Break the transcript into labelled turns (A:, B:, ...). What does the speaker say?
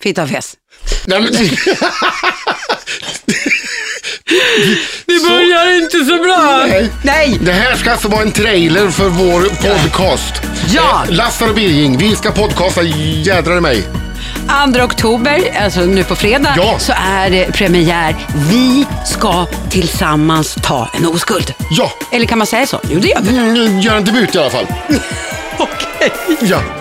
A: Fitta och fes.
B: Nej, men...
C: Det börjar inte så bra.
B: Nej.
A: Nej!
B: Det här ska alltså vara en trailer för vår podcast.
A: Ja!
B: Eh, Lassar och Birging, vi ska podcasta jädrar i mig.
A: 2 oktober, alltså nu på fredag,
B: Ja.
A: så är det premiär. Vi ska tillsammans ta en oskuld.
B: Ja,
A: Eller kan man säga så? Jo, det gör vi.
B: mm, gör en debut i alla fall.
A: Okej.
B: Ja.